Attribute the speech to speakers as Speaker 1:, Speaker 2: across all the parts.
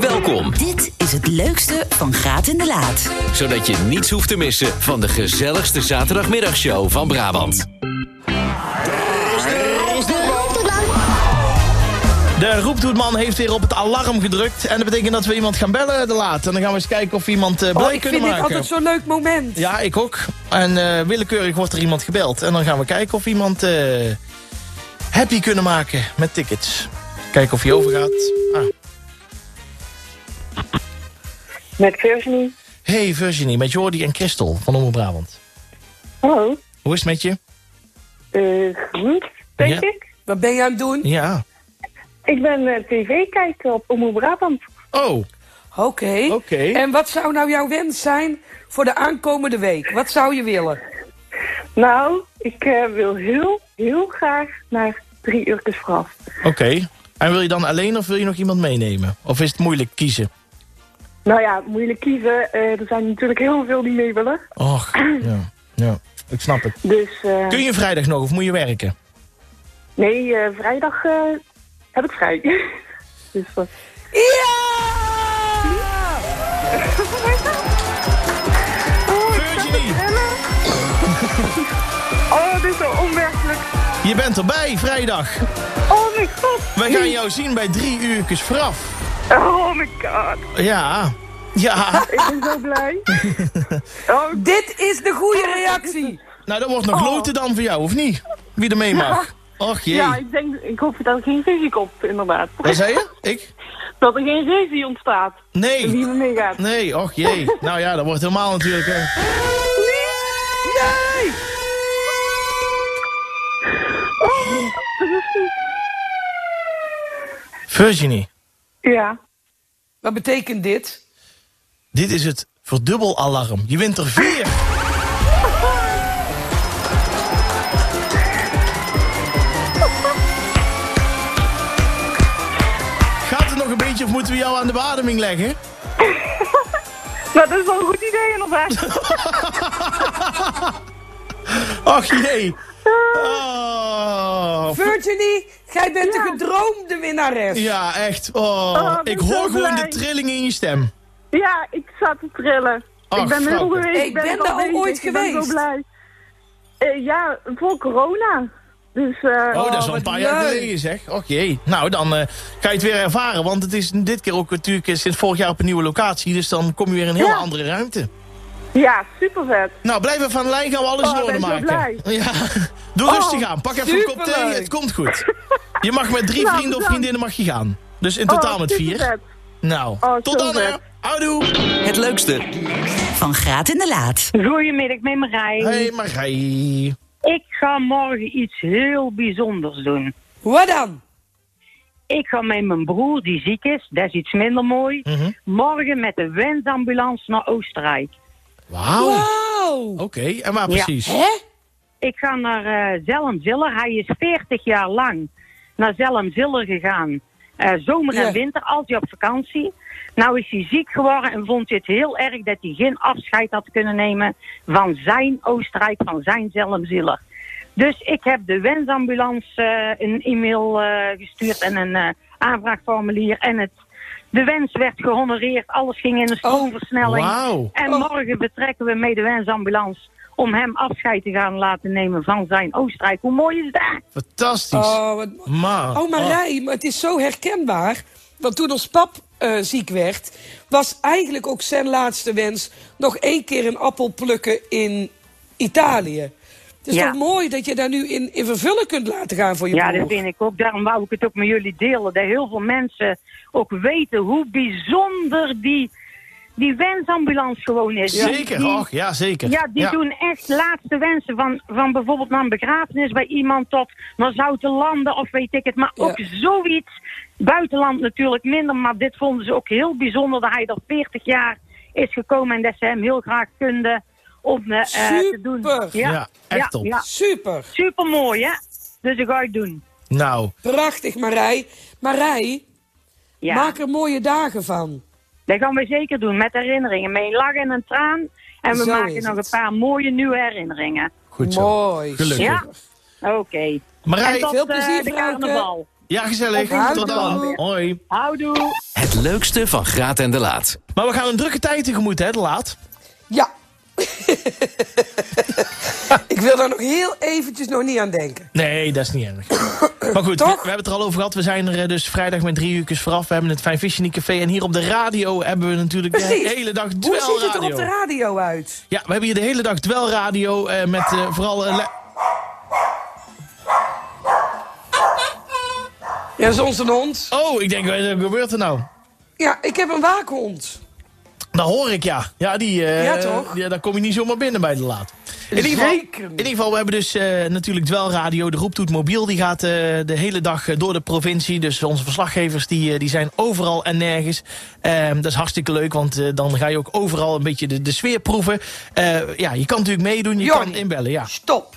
Speaker 1: Welkom,
Speaker 2: Dit is het leukste van Graat in de Laat.
Speaker 1: zodat je niets hoeft te missen van de gezelligste zaterdagmiddagshow van Brabant.
Speaker 3: De roeptoetman heeft weer op het alarm gedrukt. En dat betekent dat we iemand gaan bellen de laat. En dan gaan we eens kijken of we iemand eh, blij
Speaker 4: Oh, ik
Speaker 3: kunnen
Speaker 4: vind dit
Speaker 3: maken.
Speaker 4: altijd zo'n leuk moment.
Speaker 3: Ja, ik ook. En eh, willekeurig wordt er iemand gebeld. En dan gaan we kijken of we iemand eh, happy kunnen maken met tickets. Kijken of hij overgaat. Ah.
Speaker 5: Met Virginie.
Speaker 3: Hey Virginie, met Jordi en Christel van Omroep Brabant.
Speaker 5: Hallo.
Speaker 3: Hoe is het met je?
Speaker 5: Eh, goed, denk
Speaker 3: Ja.
Speaker 5: ik.
Speaker 4: Wat ben je aan het doen?
Speaker 3: Ja.
Speaker 5: Ik ben tv-kijker op Omroep Brabant.
Speaker 3: Oh,
Speaker 4: Oké.
Speaker 3: Oké.
Speaker 4: En wat zou nou jouw wens zijn voor de aankomende week? Wat zou je willen?
Speaker 5: Nou, ik eh, wil heel, heel graag naar drie uur vooraf.
Speaker 3: oké. En wil je dan alleen of wil je nog iemand meenemen? Of is het moeilijk kiezen?
Speaker 5: Nou ja, moeilijk kiezen. Eh, er zijn natuurlijk heel veel die mee willen.
Speaker 3: Och, ja. ja. Ik snap het.
Speaker 5: Dus eh,
Speaker 3: Kun je vrijdag nog of moet je werken?
Speaker 5: nee, eh, vrijdag eh, heb ik vrij. dus, eh,
Speaker 4: Ja!
Speaker 3: Virginie!
Speaker 5: oh, dit is zo onwerkelijk.
Speaker 3: Je bent erbij vrijdag.
Speaker 5: Oh mijn god.
Speaker 3: Wij gaan jou zien bij drie uurtjes vooraf.
Speaker 5: Oh my god.
Speaker 3: Ja. Ja.
Speaker 5: Ik ben zo blij. oh,
Speaker 4: Dit is de goede reactie.
Speaker 3: Nou, Ah, dat wordt nog loten dan voor jou, of niet? Wie er mee mag. Och jee.
Speaker 5: ja, ik, denk, ik hoop dat er geen ruzie komt, inderdaad.
Speaker 3: Wat zei je? Ik?
Speaker 5: Dat er geen ruzie ontstaat.
Speaker 3: Nee.
Speaker 5: Wie me meegaat.
Speaker 3: Nee, och jee. Nou ja, dat wordt helemaal natuurlijk... eh,
Speaker 4: Nee!
Speaker 3: Virginie,
Speaker 5: Ja.
Speaker 4: Wat betekent dit?
Speaker 3: dit is het verdubbelalarm. Je wint er vier. Gaat het nog een beetje of moeten we jou aan de beademing leggen?
Speaker 5: Nou, dat is wel een goed idee inderdaad.
Speaker 3: Och jee.
Speaker 5: Ah.
Speaker 3: Oh.
Speaker 4: Virginie, jij bent de gedroomde winnares.
Speaker 3: Ja, echt. Oh.
Speaker 5: ik ben
Speaker 3: Ik hoor
Speaker 5: zo
Speaker 3: gewoon de
Speaker 5: blij.
Speaker 3: trilling in je stem.
Speaker 5: ja, ik zat te trillen.
Speaker 3: Ach,
Speaker 5: ik ben heel
Speaker 3: Franke.
Speaker 5: geweest.
Speaker 4: Ik ben
Speaker 5: er
Speaker 4: daar al
Speaker 5: bezig.
Speaker 4: ooit
Speaker 5: Ik ben
Speaker 4: geweest.
Speaker 5: zo blij. Eh, ja, voor corona. Dus eh,
Speaker 3: Oh, dat is al
Speaker 4: wat
Speaker 3: een paar jaar
Speaker 4: leuk.
Speaker 3: geleden, zeg. Och jee. Nou, dan eh, ga je het weer ervaren. Want het is dit keer ook natuurlijk eh, sinds vorig jaar op een nieuwe locatie. Dus dan kom je weer in een heel
Speaker 5: Ja.
Speaker 3: andere ruimte.
Speaker 5: ja, super vet.
Speaker 3: Nou, blijf even aan de lijn. Gaan we alles
Speaker 5: Oh,
Speaker 3: in orde
Speaker 5: ben zo
Speaker 3: maken.
Speaker 5: blij. Oh,
Speaker 3: Ja. Doe rustig aan. Pak even een kop thee.
Speaker 4: superleuk.
Speaker 3: Het komt goed. Je mag met drie vrienden
Speaker 5: Nou,
Speaker 3: of
Speaker 5: bedankt.
Speaker 3: vriendinnen mag je gaan. Dus in totaal
Speaker 5: Oh,
Speaker 3: met vier.
Speaker 5: supervet.
Speaker 3: Nou,
Speaker 5: Oh,
Speaker 3: tot
Speaker 5: zo
Speaker 3: dan, hè.
Speaker 5: vet.
Speaker 3: Houdoe.
Speaker 1: Het leukste,
Speaker 2: Van Graat in de Laat.
Speaker 6: Goedemiddag, met Marij.
Speaker 3: Hey, Marij.
Speaker 6: Ik ga morgen iets heel bijzonders doen.
Speaker 4: Wat dan?
Speaker 6: Ik ga met mijn broer, die ziek is, dat is iets minder mooi,
Speaker 3: Mhm.
Speaker 6: morgen met de wensambulance naar Oostenrijk.
Speaker 3: Wauw.
Speaker 4: Wow!
Speaker 3: Oké, en waar
Speaker 6: Ja.
Speaker 3: precies?
Speaker 4: Hè?
Speaker 6: Ik ga naar eh Zelm Ziller. Hij is 40 jaar lang naar Zelm Ziller gegaan. Eh, zomer
Speaker 4: Ja.
Speaker 6: en winter, altijd op vakantie. Nou is hij ziek geworden en vond het heel erg dat hij geen afscheid had kunnen nemen van zijn Oostenrijk, van zijn Zelm Ziller. Dus ik heb de wensambulance eh, een e-mail eh, gestuurd en een eh, aanvraagformulier. En het, de wens werd gehonoreerd, alles ging in de stroomversnelling.
Speaker 3: Wauw.
Speaker 6: En
Speaker 4: Oh.
Speaker 6: morgen vertrekken we met de wensambulance om hem afscheid te gaan laten nemen van zijn Oostenrijk. Hoe mooi is dat?
Speaker 3: Fantastisch.
Speaker 4: Oh, wat mooi.
Speaker 3: Maar.
Speaker 4: Oh, Marij, maar het is zo herkenbaar. Want toen ons pap eh, ziek werd, was eigenlijk ook zijn laatste wens nog één keer een appel plukken in Italië. Het is
Speaker 6: Ja.
Speaker 4: toch mooi dat je daar nu in, in vervullen kunt laten gaan voor je
Speaker 6: Ja,
Speaker 4: broer.
Speaker 6: dat vind ik ook. Daarom wou ik het ook met jullie delen. Dat heel veel mensen ook weten hoe bijzonder die, die wensambulance gewoon is.
Speaker 3: Zeker,
Speaker 6: Die-
Speaker 3: och, ja, zeker.
Speaker 6: Ja, die doen echt laatste wensen van, van bijvoorbeeld naar een begrafenis bij iemand tot naar zoute landen of weet ik het. Maar
Speaker 4: Ja.
Speaker 6: ook zoiets, buitenland natuurlijk minder, maar dit vonden ze ook heel bijzonder dat hij er 40 jaar is gekomen en dat ze hem heel graag konden om eh, eh, te doen.
Speaker 4: Super.
Speaker 3: Ja, echt top.
Speaker 4: Super.
Speaker 6: Super mooi, hè? Dus ik ga het doen.
Speaker 3: Nou,
Speaker 4: Prachtig, Marij. Marij,
Speaker 6: Ja.
Speaker 4: maak er mooie dagen van.
Speaker 6: Dat gaan we zeker doen, met herinneringen. Met een lach en een traan. En we
Speaker 4: Zo
Speaker 6: maken
Speaker 4: is
Speaker 6: nog
Speaker 4: het.
Speaker 6: een paar mooie nieuwe herinneringen.
Speaker 3: goed zo.
Speaker 4: Mooi.
Speaker 3: Gelukkig.
Speaker 6: Ja? Oké.
Speaker 3: Marij,
Speaker 6: En tot
Speaker 4: veel
Speaker 6: eh,
Speaker 4: plezier,
Speaker 6: de
Speaker 4: Frauke.
Speaker 6: carnaval.
Speaker 3: Ja, gezellig.
Speaker 6: Oké,
Speaker 3: Tot
Speaker 6: tot
Speaker 3: dan.
Speaker 6: dan.
Speaker 3: Hoi.
Speaker 6: Houdoe.
Speaker 1: Het leukste van Graat en de Laat.
Speaker 3: Maar we gaan een drukke tijd tegemoet, hè, de laat.
Speaker 4: Ja. ik wil daar nog heel eventjes nog niet aan denken.
Speaker 3: Nee, dat is niet erg. Maar goed, we,
Speaker 4: Toch?
Speaker 3: we hebben het er al over gehad. We zijn er eh, dus vrijdag met drie uurtjes vooraf. We hebben het Fijn Visje in Café. En hier op de radio hebben we natuurlijk de
Speaker 4: Precies.
Speaker 3: hele dag
Speaker 4: Hoe ziet het er
Speaker 3: duelradio.
Speaker 4: op de radio uit?
Speaker 3: Ja, we hebben hier de hele dag dwelradio eh, met eh, vooral... eh, le-
Speaker 4: Ja, dat is onze hond.
Speaker 3: oh, ik denk, wat gebeurt er nou?
Speaker 4: Ja, ik heb een waakhond.
Speaker 3: Dat hoor ik, ja. Ja, die, eh,
Speaker 4: Ja, toch?
Speaker 3: Ja, daar kom je niet zomaar binnen bij de laat. In ieder geval,
Speaker 4: Zeker
Speaker 3: in
Speaker 4: niet.
Speaker 3: ieder geval we hebben dus eh, natuurlijk Dwelradio. De roeptoet mobiel die gaat eh, de hele dag eh, door de provincie. Dus onze verslaggevers die, eh, die zijn overal en nergens. Ehm, dat is hartstikke leuk, want eh, dan ga je ook overal een beetje de, de sfeer proeven. Eh, ja, je kan natuurlijk meedoen, je
Speaker 4: Jordi.
Speaker 3: kan inbellen, ja. Oké,
Speaker 4: Stop.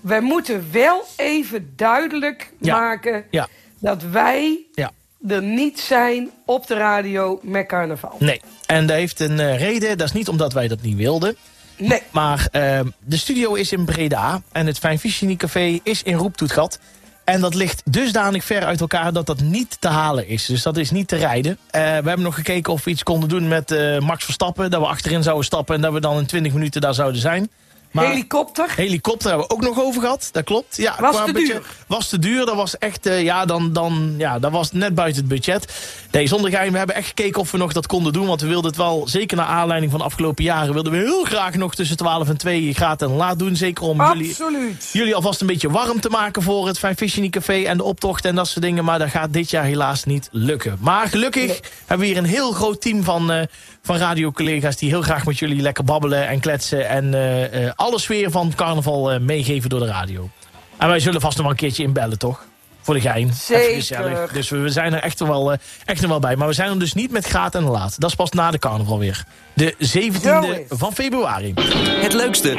Speaker 4: Wij moeten wel even duidelijk
Speaker 3: Ja.
Speaker 4: maken
Speaker 3: ja,
Speaker 4: dat wij
Speaker 3: ja.
Speaker 4: er niet zijn op de radio met carnaval.
Speaker 3: Nee, en dat heeft een eh, reden. Dat is niet omdat wij dat niet wilden.
Speaker 4: Nee.
Speaker 3: Maar ehm, de studio is in Breda en het Fijn Vicini Café is in Roeptoetgat. En dat ligt dusdanig ver uit elkaar dat dat niet te halen is. Dus dat is niet te rijden. Eh, we hebben nog gekeken of we iets konden doen met eh, Max Verstappen. Dat we achterin zouden stappen en dat we dan in 20 minuten daar zouden zijn. Maar
Speaker 4: Helikopter.
Speaker 3: helikopter hebben we ook nog over gehad. Dat klopt. Ja,
Speaker 4: Was
Speaker 3: qua
Speaker 4: te
Speaker 3: budget-
Speaker 4: duur.
Speaker 3: Was te duur. Dat was echt, eh, ja, dan, dan, ja, dat was net buiten het budget. Nee, zonder geheim. We hebben echt gekeken of we nog dat konden doen. Want we wilden het wel, zeker naar aanleiding van de afgelopen jaren... wilden we heel graag nog tussen 12 en 2 gratis en laat doen. Zeker om jullie,
Speaker 4: Absoluut.
Speaker 3: jullie alvast een beetje warm te maken voor het Fijn Fishing Café... en de optocht en dat soort dingen. Maar dat gaat dit jaar helaas niet lukken. Maar gelukkig hebben we hier een heel groot team van, eh van radiocollega's... die heel graag met jullie lekker babbelen en kletsen... en eh, eh, alle sfeer van carnaval eh, meegeven door de radio. En wij zullen vast nog wel een keertje inbellen, toch? Voor de gein. Even
Speaker 4: Zeker.
Speaker 3: gezellig. Dus we, we zijn er echt wel, eh, echt nog wel bij. Maar we zijn er dus niet met graat en laat. Dat is pas na de carnaval weer. De 17e
Speaker 4: Zo is.
Speaker 3: van februari.
Speaker 1: Het leukste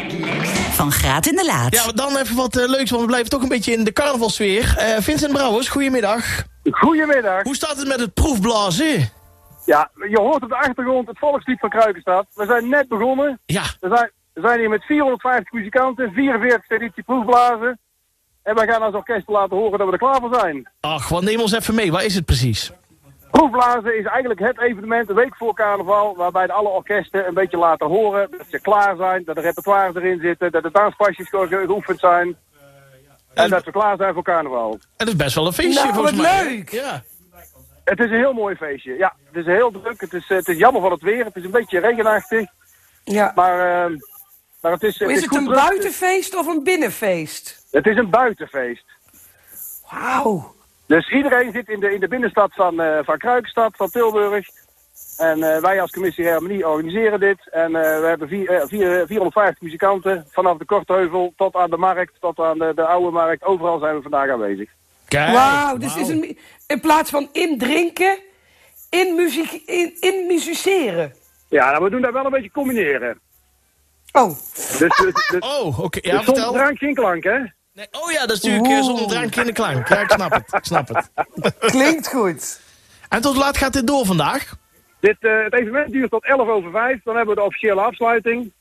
Speaker 2: Van Graat in de Laat.
Speaker 3: Ja, maar dan even wat eh, leuks, want we blijven toch een beetje in de carnavalsfeer. Eh, Vincent Brouwers, goedemiddag.
Speaker 7: Goedemiddag.
Speaker 3: Hoe staat het met het proefblazen?
Speaker 7: Ja, je hoort op de achtergrond het volkslied van Kruikenstaat. We zijn net begonnen.
Speaker 3: Ja,
Speaker 7: We zijn, we zijn hier met 450 muzikanten, 44 editie proefblazen. En wij gaan als orkest laten horen dat we er klaar voor zijn.
Speaker 3: ach, wat neem ons even mee. Waar is het precies?
Speaker 7: Proefblazen is eigenlijk het evenement, de week voor carnaval, waarbij de alle orkesten een beetje laten horen dat ze klaar zijn, dat de repertoires erin zitten, dat de danspasjes ge- ge- geoefend zijn. En dat we klaar zijn voor carnaval.
Speaker 3: Het is best wel een feestje
Speaker 4: Nou,
Speaker 3: volgens
Speaker 4: wat
Speaker 3: mij.
Speaker 4: leuk.
Speaker 3: Ja.
Speaker 7: Het is een heel mooi feestje. Ja, het is heel druk. Het is, eh, het is jammer van het weer. Het is een beetje regenachtig.
Speaker 4: Ja.
Speaker 7: Maar, ehm, maar het is,
Speaker 4: Is het
Speaker 7: goed
Speaker 4: een
Speaker 7: druk.
Speaker 4: buitenfeest of een binnenfeest?
Speaker 7: Het is een buitenfeest.
Speaker 4: Wauw.
Speaker 7: Dus iedereen zit in de, in de binnenstad van, eh van Kruikenstad, van Tilburg. En eh, wij als commissie Harmonie organiseren dit. En eh, we hebben vier, eh, vier- 450 muzikanten vanaf de Kortheuvel tot aan de markt, tot aan de, de oude markt. Overal zijn we vandaag aanwezig.
Speaker 3: Kijk.
Speaker 4: Wauw. Dus is een, in plaats van indrinken, in, muziek, in, in musiceren.
Speaker 7: Ja, nou, we doen dat wel een beetje combineren.
Speaker 4: Oh,
Speaker 7: Dus, dus, dus,
Speaker 3: Oh, oké.
Speaker 7: dus
Speaker 3: Ja,
Speaker 7: soms
Speaker 3: vertel.
Speaker 7: drank geen klank, hè?
Speaker 3: Nee, oh ja, dat is natuurlijk eh, zonder drank in de klank. Ja, ik snap het. Ik snap het.
Speaker 4: klinkt goed. Dus
Speaker 3: En tot hoe laat gaat dit door vandaag?
Speaker 7: Dit, eh, het evenement duurt tot 11 over 5. Dan hebben we de officiële afsluiting.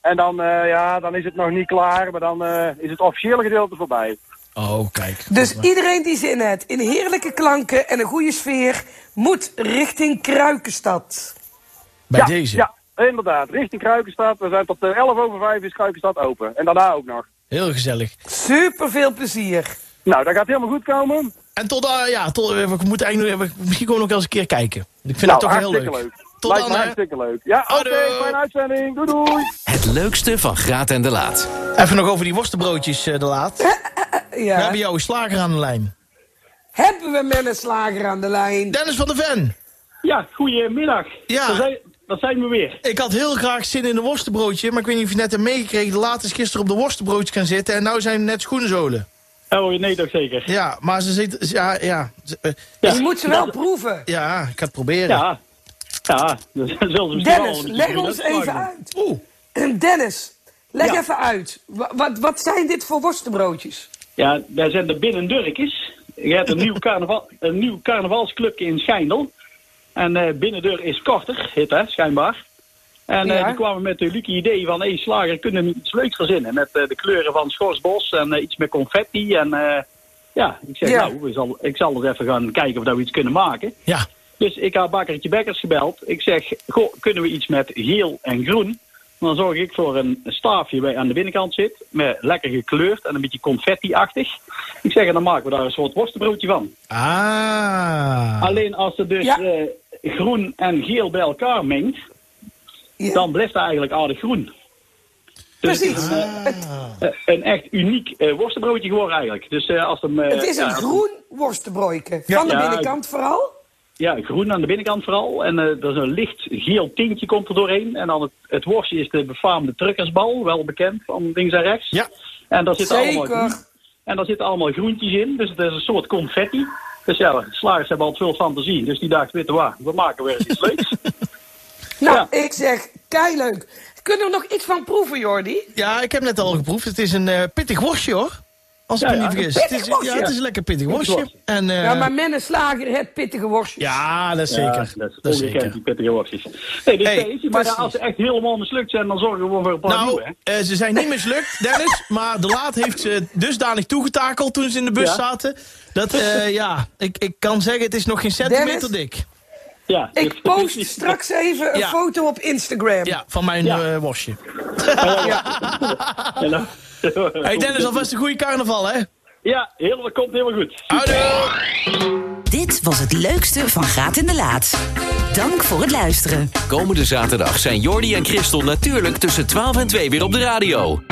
Speaker 7: En dan, eh, ja, dan is het nog niet klaar, maar dan eh, is het officiële gedeelte voorbij.
Speaker 3: Oh, kijk.
Speaker 4: Dus iedereen die zin heeft in heerlijke klanken en een goede sfeer, moet richting Kruikenstad.
Speaker 3: Bij
Speaker 7: ja,
Speaker 3: deze.
Speaker 7: Ja, inderdaad. Richting Kruikenstad. We zijn tot eh, 11 over 5 is Kruikenstad open. En daarna ook nog.
Speaker 3: Heel gezellig.
Speaker 4: Super veel plezier.
Speaker 7: Nou, dat gaat helemaal goed komen.
Speaker 3: En tot, eh, ja, tot, eh, we moeten eigenlijk, nog even- misschien komen we nog wel eens een keer kijken. Ik vind het
Speaker 7: nou,
Speaker 3: toch heel
Speaker 7: hartstikke
Speaker 3: leuk. Tot
Speaker 7: Lijkt
Speaker 3: dan,
Speaker 7: me
Speaker 3: hè.
Speaker 7: hartstikke leuk. Ja, oké.
Speaker 3: Houdoe.
Speaker 7: fijne uitzending. Doei doei.
Speaker 1: Het leukste van Graat en de Laat.
Speaker 3: Even nog over die worstenbroodjes eh, de laat. We
Speaker 4: Ja.
Speaker 3: hebben jouw slager aan de lijn.
Speaker 4: Hebben we men een slager aan de lijn?
Speaker 3: Dennis van der Ven.
Speaker 8: Ja, goedemiddag.
Speaker 3: Ja.
Speaker 8: Dat zijn, dat zijn we weer.
Speaker 3: Ik had heel graag zin in een worstenbroodje, maar ik weet niet of je net hebt meegekregen. Laat is gisteren op de worstenbroodjes gaan zitten en nou zijn het net schoenzolen.
Speaker 8: Oh, nee, toch zeker.
Speaker 3: Ja, maar ze zitten... Ja, ja, ze- eh,
Speaker 8: Ja.
Speaker 4: Je moet ze wel proeven.
Speaker 3: ja ik ga het proberen.
Speaker 8: Ja. Ja, dat zullen ze misschien
Speaker 4: Dennis,
Speaker 8: wel een
Speaker 4: leg
Speaker 8: keer
Speaker 4: ons
Speaker 8: doen, hè?
Speaker 4: even uit.
Speaker 3: Oeh,
Speaker 4: Dennis, leg
Speaker 8: Ja.
Speaker 4: even uit. Wa- Wat, wat zijn dit voor worstenbroodjes?
Speaker 8: Ja, daar zijn de Binnendurkjes. Je hebt een nieuw, carnaval, een nieuw carnavalsclubje in Schijndel. En eh Binnendeur is korter, heet dat, schijnbaar. En eh,
Speaker 4: Ja.
Speaker 8: die kwamen met de lucky idee van... Hey, slager, kunnen we iets leuks verzinnen? Met eh, de kleuren van schorsbos en eh, iets met confetti en... eh, Ja, ik zeg,
Speaker 4: Ja.
Speaker 8: nou, we zal, ik zal eens even gaan kijken of dat we iets kunnen maken.
Speaker 3: Ja,
Speaker 8: Dus ik had Bakkertje Bekkers gebeld. Ik zeg, goh, kunnen we iets met geel en groen? En dan zorg ik voor een staafje bij aan de binnenkant zit. Met lekker gekleurd en een beetje confetti-achtig. Ik zeg, en dan maken we daar een soort worstenbroodje van.
Speaker 3: Ah.
Speaker 8: Alleen als er dus
Speaker 4: Ja.
Speaker 8: eh, groen en geel bij elkaar mengt,
Speaker 4: Ja.
Speaker 8: dan blijft het eigenlijk aardig groen. Dus het is
Speaker 4: Precies.
Speaker 8: een,
Speaker 4: Ah.
Speaker 8: eh, een echt uniek eh, worstenbroodje geworden eigenlijk. Dus eh, als hem, eh,
Speaker 4: Het is
Speaker 8: ja,
Speaker 4: een
Speaker 8: als-
Speaker 4: groen worstenbroodje. Van de
Speaker 8: Ja.
Speaker 4: binnenkant vooral.
Speaker 8: Ja, groen aan de binnenkant vooral. En eh, er is een licht geel tintje komt er doorheen. En dan het, het worstje is de befaamde truckersbal, wel bekend van links en rechts.
Speaker 3: Ja.
Speaker 8: En daar zit allemaal
Speaker 4: Zeker.
Speaker 8: groen- en daar zitten allemaal groentjes in. Dus het is een soort confetti. Dus ja, de slagers hebben al veel fantasie. Dus die dacht, weet je waar, we maken weer eens iets leuks.
Speaker 4: Nou,
Speaker 8: Ja.
Speaker 4: ik zeg, kei leuk. Kunnen we nog iets van proeven, Jordi?
Speaker 3: Ja, ik heb net al geproefd. Het is een eh, pittig worstje hoor. Als ik
Speaker 8: Ja,
Speaker 3: me
Speaker 8: ja,
Speaker 3: niet
Speaker 8: een
Speaker 3: vergis.
Speaker 4: pittig
Speaker 3: het is, ja,
Speaker 4: worstje.
Speaker 3: het is een lekker pittig
Speaker 8: Pittig
Speaker 3: worstje.
Speaker 8: worstje.
Speaker 3: En, eh,
Speaker 4: ja, maar men en slager het pittige worstje.
Speaker 3: ja, dat is zeker.
Speaker 8: Ja, dat is
Speaker 3: dat is
Speaker 8: ongekend,
Speaker 3: zeker.
Speaker 8: die pittige worstjes. Nee, dus
Speaker 3: Hey,
Speaker 8: dat is die, maar
Speaker 3: precies.
Speaker 8: als ze echt helemaal mislukt zijn, dan zorgen we gewoon voor een paar
Speaker 3: Nou,
Speaker 8: nieuwe, hè.
Speaker 3: eh, ze zijn niet mislukt, Dennis. Maar de laat heeft ze dusdanig toegetakeld toen ze in de bus
Speaker 8: Ja.
Speaker 3: zaten. Dat, eh, ja, ik, ik kan zeggen, het is nog geen centimeter dik.
Speaker 8: Ja, dus-
Speaker 4: Ik post straks even een
Speaker 3: Ja.
Speaker 4: foto op Instagram.
Speaker 3: Ja, van mijn
Speaker 8: Ja.
Speaker 3: eh, worstje.
Speaker 8: Ja, nou.
Speaker 3: Hey Dennis, alvast een goede carnaval, hè?
Speaker 8: Ja, helemaal, komt helemaal goed.
Speaker 3: Houdoe!
Speaker 2: Dit was het leukste van Graat in de Laat. Dank voor het luisteren.
Speaker 1: Komende zaterdag zijn Jordi en Christel natuurlijk tussen 12 en 2 weer op de radio.